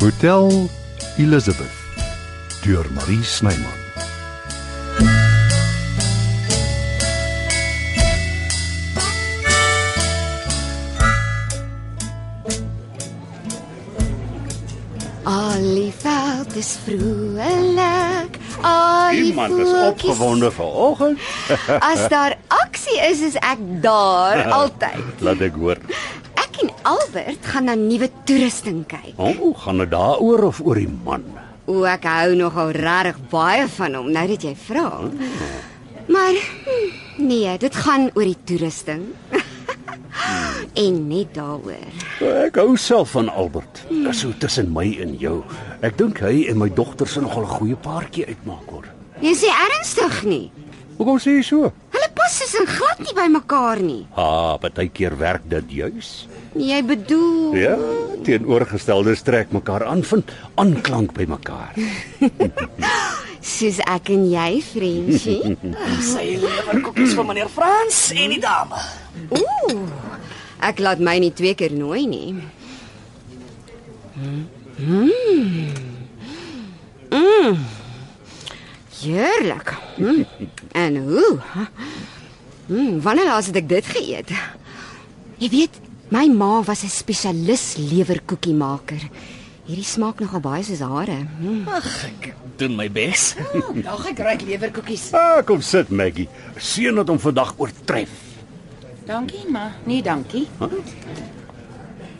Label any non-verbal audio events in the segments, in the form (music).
Hotel Elizabeth deur Marie Snyman. Al die veld is vrolik. Al die Iemand is voeltjies- opgewonde (laughs) vanoggend. As daar aksie is, is ek (laughs) daar altyd. Laat ek hoor. Ek en Albert gaan na nuwe toerusting kyk. O, oh, gaan dit daaroor of oor die man? O, ek hou nogal regtig baie van hom, nou dat jy vra. Maar hm, nee, dit gaan oor die toerusting. (laughs) en net daaroor. Ek hou self van Albert. Dis so tussen my en jou. Ek dink hy en my dogter sal nogal 'n goeie paartjie uitmaak hoor. Jy sê ernstig nie. Hoekom sê jy so? Hulle pas is in glad nie by mekaar nie. Ah, partykeer werk dit juis. Jy bedoel Ja, teenoorgesteldes trek mekaar aan, vind aanklank by (laughs) mekaar. soos ek en jy, Frenchie? Sy lewer koekies vir meneer Frans en die dame. Ooh. Ek laat my nie twee keer nooi nie. Hmm. Mm. Hmm. Mm. Hmm. Heerlik. Mm. En hoe? Mm, wanneer laas het ek dit geëet? Jy weet, my ma was 'n spesialis lewerkoekiemaker. Hierdie smaak nogal baie soos hare. Mm. Ag, ek doen my bes. Ah, Dag ek ryk lewerkoekies. Ah, kom sit Maggie. Seën dat hom vandag oortref. Dankie, maar nee, dankie.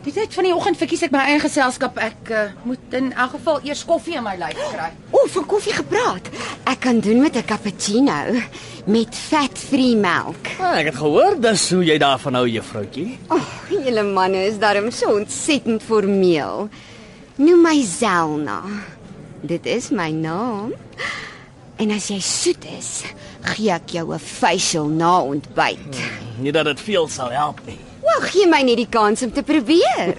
Die tyd van die oggend verkies ek my eie geselskap. Ek uh, moet in elk geval eers koffie in my lyf kry. O, van koffie gepraat. Ek kan doen met 'n cappuccino met fat-free melk. Ah, ek het gehoor dis hoe jy daarvan hou, juffroutjie. Ag, oh, julle manne is darm so ontsettend formeel. Noem my Zelna. Dit is my naam. En as jy soet is, gee ek jou 'n facial na ontbyt. Nie dat dit veel sal help nie. Wag, gee my net die kans om te probeer.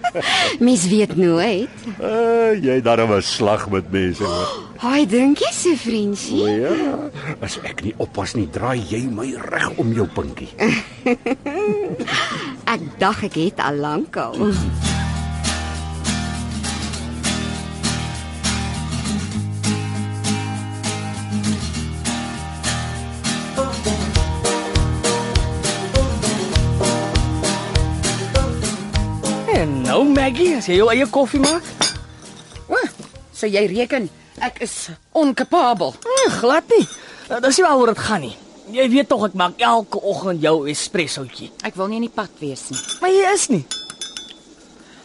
(laughs) Mens weet nooit. Ah, jy het darem 'n slag met mense. hoor. Haai, dink jy so, vriendjie? Ja, as ek nie oppas nie, draai jy my reg om jou pinkie. Ek dink ek het al lank al. En nou Maggie, as jy jou eie koffie maak? O, so jy reken ek is onkapabel. Nee, glad nie. Eh, Dis nie waaroor dit gaan nie. Jy weet tog ek maak elke oggend jou espressoutjie. Ek wil nie in die pad wees nie. Maar jy is nie.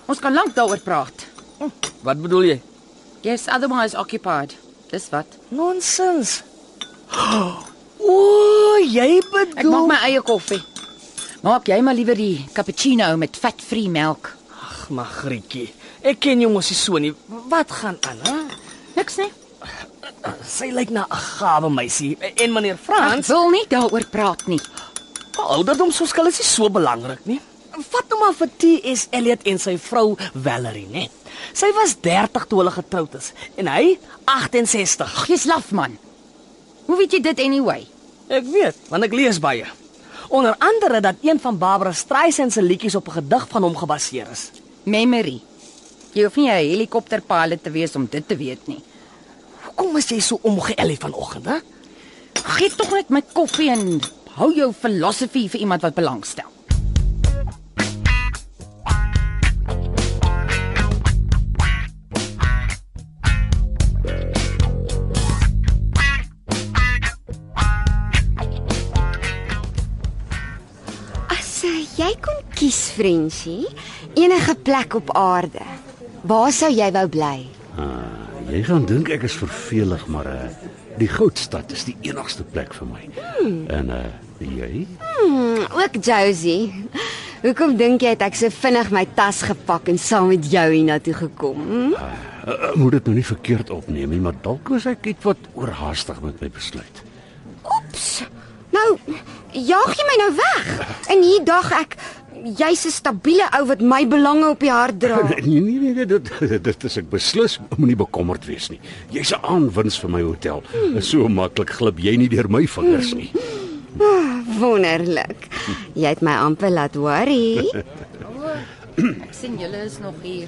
Ons kan lank daaroor praat. Wat bedoel jy? Yes, otherwise occupied. Dis wat. Nonsens. (gasps) O, jy bedoel Ek maak my eie koffie. Maak jy maar liewer die cappuccino met fat-free melk. Ag, Magrietjie. Ek ken jou mos nie so nie. Wat gaan aan, hè? Niks nie. Sy lyk na 'n gawe meisie. En meneer Ek Frans, wil nie daaroor praat nie. ouderdom soos hulle is nie so belangrik nie. Vat nou maar vir T.S. Eliot en sy vrou Valerie, né? Sy was 30 toe hulle getroud is en hy 68. Jy's laf man. Hoe weet jy dit anyway? Ek weet, want ek lees baie. Onder andere dat een van Barbara Streisand se liedjies op 'n gedig van hom gebaseer is. Memory. Jy hoef nie 'n helikopterpilot te wees om dit te weet nie. Hoekom is jy so omgeëlie vanoggend, hè? Gee tog net my koffie en hou jou filosofie vir iemand wat belangstel. As eh, jy kon kies, vriendjie, enige plek op aarde, waar sou jy wou bly? Ah, jy gaan dink ek is vervelig, maar uh, die Goudstad is die enigste plek vir my. Hmm. En uh jy? Hmm, ook Josie. Hoekom dink jy het ek so vinnig my tas gepak en saam met jou hiernatoe gekom? Hm? Uh, uh, moet dit nou nie verkeerd opneem nie, maar dalk was ek iets wat oorhaastig met my besluit. Oeps. Nou, jaag jy my nou weg. En hier dag ek jy's 'n stabiele ou wat my belange op die hart (laughs) dra. Nee nee nee, dit (laughs) dit- dit is ek beslis moenie bekommerd wees nie. Jy's 'n aanwins vir my hotel. Hmm. So maklik glip jy nie deur my vingers nie. Wonderlik. Jy het my amper laat worry. Ek sien julle is nog hier.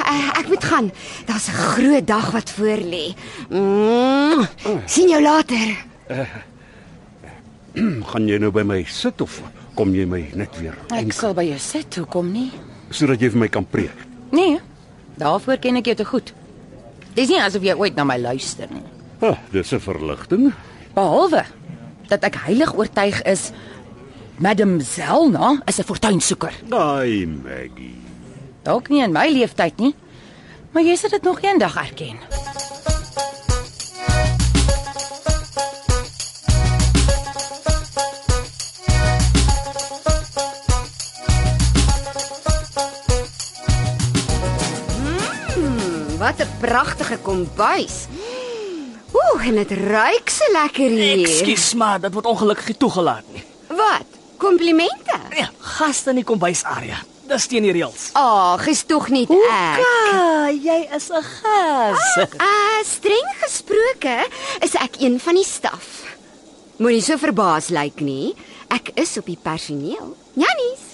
Ag, ek moet gaan. Daar's 'n groot dag wat voor lê. Mm, sien jou later. Gaan jy nou by my sit of kom jy my net weer Ek sal by jou sit, hoekom nie? sodat jy vir my kan preek? Nee. Daarvoor ken ek jou te goed. Dis nie asof jy ooit na my luister nie. Ah, dis 'n verligting. Behalwe dat ek heilig oortuig is Madam Zelna is 'n fortuinsoeker. Daai Maggie. Dalk nie in my lewenstyd nie, maar jy sal dit nog eendag erken. Mm, Wat 'n pragtige kombuis. Ooh, en dit ruik so lekker hier. Ekskuus maar, dit word ongelukkig nie toegelaat nie. Wat? Komplimente. Ja, gaste in die kombuisarea. Dis teen die reëls. Ag, is tog nie ek. Ka, jy is 'n gas. Uh, streng gesproke is ek een van die staf. Moenie so verbaas lyk nie. Ek is op die personeel. Jannies,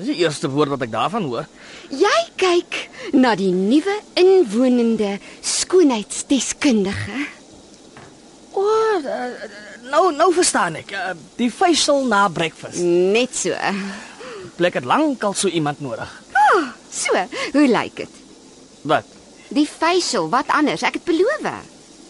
Dis die eerste woord wat ek daarvan hoor. jy kyk na die nuwe inwonende skoonheidsdeskundige. O, oh, nou nou verstaan ek. Eh, Die facial na breakfast. Net so. Plek het lankal so iemand nodig. Ah, so, hoe lyk dit? Wat? Die facial, wat anders? Ek het beloof.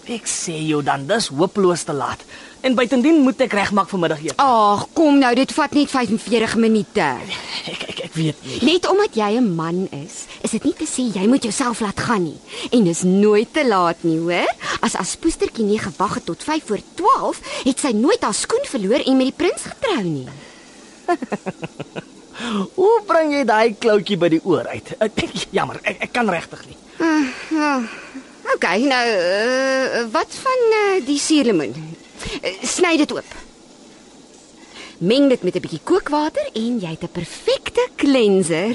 Ek sê jou dan, dis hopeloos te laat. En buitendien moet ek regmaak vir middagete. Ag, kom nou, dit vat net 45 minute. Ah, Ek ek ek weet nie. Net omdat jy 'n man is, is dit nie te sê jy moet jouself laat gaan nie. En dis nooit te laat nie, hoor? As as poestertjie nie gewag het tot 5 voor 12, het sy nooit haar skoen verloor en met die prins getrou nie. Hoe bring jy daai kloutjie by die oor uit? Eh, Ek, ek, jammer, ek, ek kan regtig nie. OK, nou uh, wat van uh, die suurlemoen? Uh, sny dit oop. Meng dit met 'n bietjie kookwater en jy het 'n perfekte cleanser.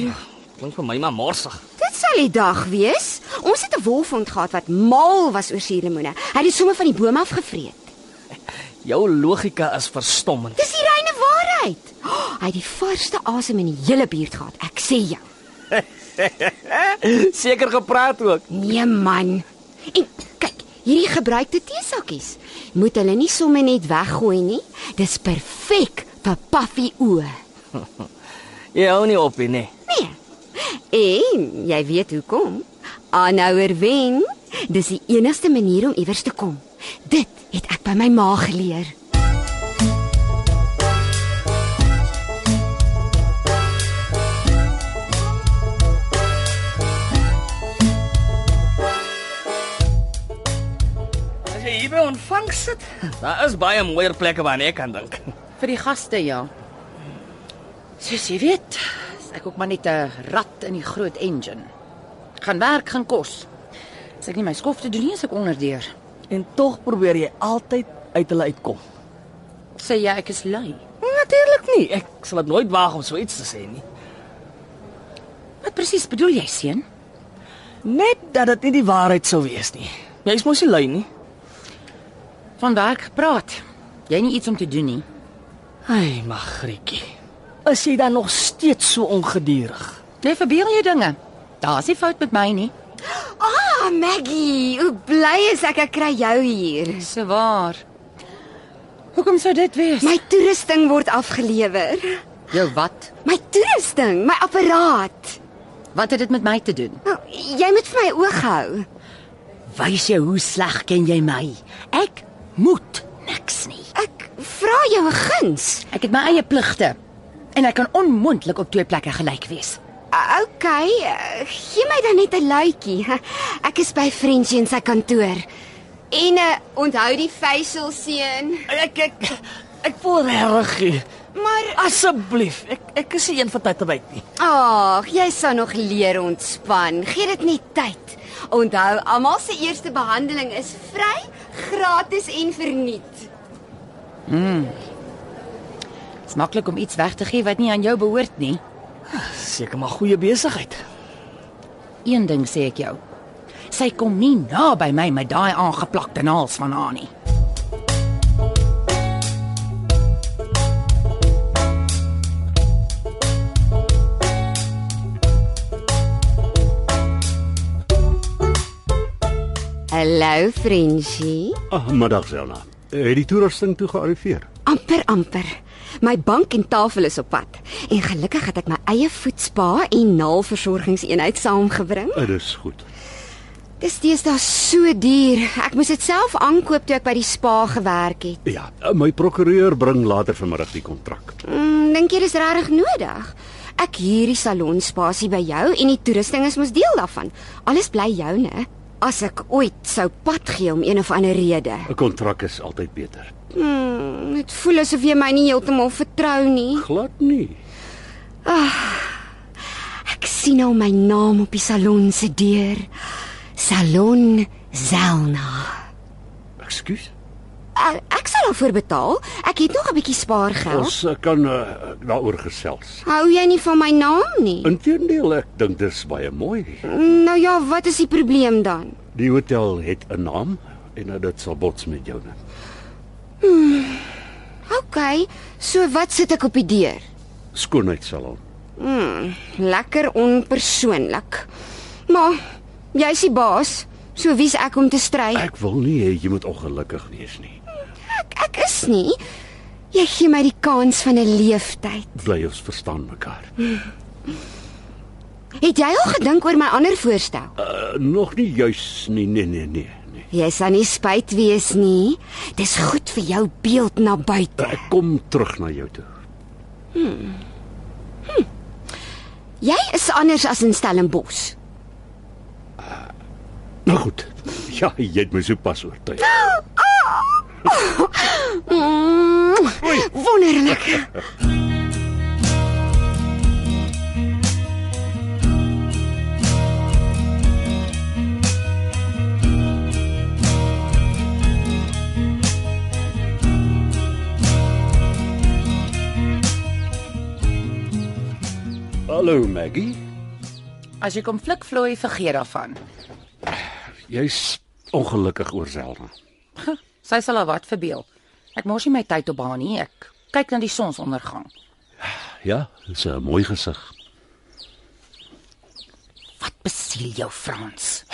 Klink vir my maar morsig. Dit sal die dag wees. Ons het 'n wolfhond gehad wat mal was oor suurlemoene. Hy het dit sommer van die boom af gevreet. Jou logika is verstommend. Dis die reine waarheid. (gasps) Oh, hy het die varsste asem in die hele buurt gehad, ek sê jou. (laughs) Seker gepraat ook. Nee man. En kyk, hierdie gebruikte teesakkies moet hulle nie sommer net weggooi nie. Dis perfek vir paffie oë. Jy hou nie op nie, nee. Nee. En jy weet hoekom? Aanhouer wen. Dis die enigste manier om iewers te kom. Dit het ek by my ma geleer. As jy hier by ontvangs sit, daar is baie mooier plekke waaraan ek kan dink. Vir die gaste, ja. Soos jy weet, is ek ook maar net 'n rat in die groot engine. Gaan werk, gaan kos. As ek nie my skof te doen nie, is ek onderdeur. En tog probeer jy altyd uit hulle uitkom. Sê jy ek is lui? Natuurlik nie. Ek sal dit nooit waag om so iets te sê nie. Wat presies bedoel jy, seun? Net dat dit nie die waarheid sou wees nie. Jy's mos nie lui nie. Van werk gepraat. Jy nie iets om te doen nie. Ai, Magrietjie. Is jy dan nog steeds so ongeduldig? Jy verbeel jou dinge. Daar's nie fout met my nie. Ah, Maggie, hoe bly is ek ek kry jou hier. Dis waar. Hoekom sou dit wees? My toerusting word afgelewer. jou wat? My toerusting, my apparaat. Wat het dit met my te doen? Nou, jy moet vir my oog hou. Wys jy hoe sleg ken jy my? Ek moet niks nie. Ek vra jou 'n guns. Ek het my eie pligte en ek kan onmoontlik op twee plekke gelyk wees. O- Ah, OK, eh, gee my dan net 'n luitjie. Ek is by Frenchie in sy kantoor. En uh, onthou die facial seun. Ek ek ek voel regtig. Maar Asseblief, ek ek is nie een van tyd te byt nie. ag, jy sal nog leer ontspan. Gee dit net tyd. Onthou, almal se eerste behandeling is vry, gratis en verniet. Dit is maklik om iets weg te gee wat nie aan jou behoort nie. Seker maar goeie besigheid. Een ding sê ek jou. Sy kom nie naby my met daai aangeplakte naels van haar nie. Hallo Frenchie. Ah, middag Selna. Het die toerusting toe gearriveer? Amper amper. My bank en tafel is op pad en gelukkig het ek my eie voetspa en naalversorgingseenheid saamgebring. Dit is Eh, goed. Dis deesdae so duur. Ek moes dit self aankoop toe ek by die spa gewerk het. Ja, my prokureur bring later vanmiddag die kontrak. Mm, Dink jy dis regtig nodig? Ek huur die salonspasie by jou en die toerusting is mos deel daarvan. Alles bly joune. As ek ooit sou pad gee om een of ander rede. 'n Kontrak is altyd beter. Mm, Dit voel asof jy my nie heeltemal vertrou nie. Glad nie. Ek sien al my naam op die salon se deur. Salon Zelna. Ekskuus. Ek, ek sal daarvoor betaal. Ek het nog 'n bietjie Ja? spaargeld. Ons eh, kan uh, daaroor gesels. Hou jy nie van my naam nie? Inteendeel, ek dink dit is baie mooi. Nou ja, wat is die probleem dan? Die hotel het 'n naam en eh, dit sal bots met joune. OK, so wat sit ek op die deur? Skoonheidssalon. Lekker onpersoonlik. Maar jy's die baas. So wie's ek om te stry? Ek wil nie hê jy moet ongelukkig wees nie. Ek, ek is nie. Jy gee my die kans van 'n leeftyd. Bly ons verstaan mekaar. Het jy al gedink oor my ander voorstel? Uh, nog nie juis nie. Nee, nee, nee, nee. Jy sal nie spyt wees nie. Dis goed vir jou beeld na buite. Ek kom terug na jou toe. Jy is anders as in Stellenbosch. Nou goed. (laughs) Ja, jy het my sopas oortuig. Mm, wonderlik. Hallo Maggie. As jy kom flikvloei, vergeet daarvan. Jy's ongelukkig oor Zelda. Sy sal haar wat verbeel. Ek mors nie my tyd op haar nie. Ek kyk na die sonsondergang. Ja, dis 'n mooi gesig. Wat besiel jou, Frans?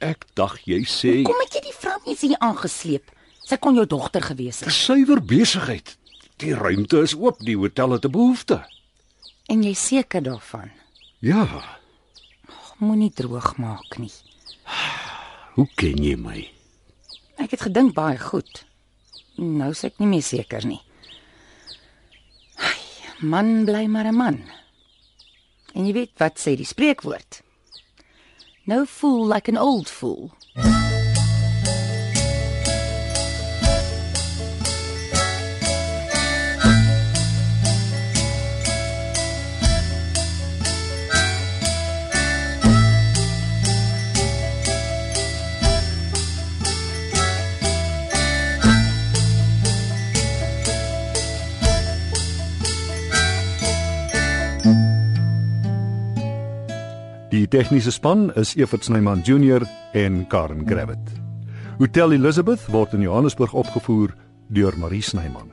Ek dacht jy sê Kom het jy die vrou mens hier aangesleep? Sy kon jou dogter gewees het. Dis suiwer besigheid. Die ruimte is oop, die hotel het 'n behoefte. En jy seker daarvan? Ja, Moenie droog maak nie. hoe ken jy my? Ek het gedink baie goed. Nou is ek nie meer seker nie. Ai, man bly maar 'n man. En jy weet wat sê die spreekwoord? No fool like an old fool. Die tegniese span is Evert Snyman Junior en Karen Gravett. Hotel Elizabeth word in Johannesburg opgevoer deur Marie Snyman.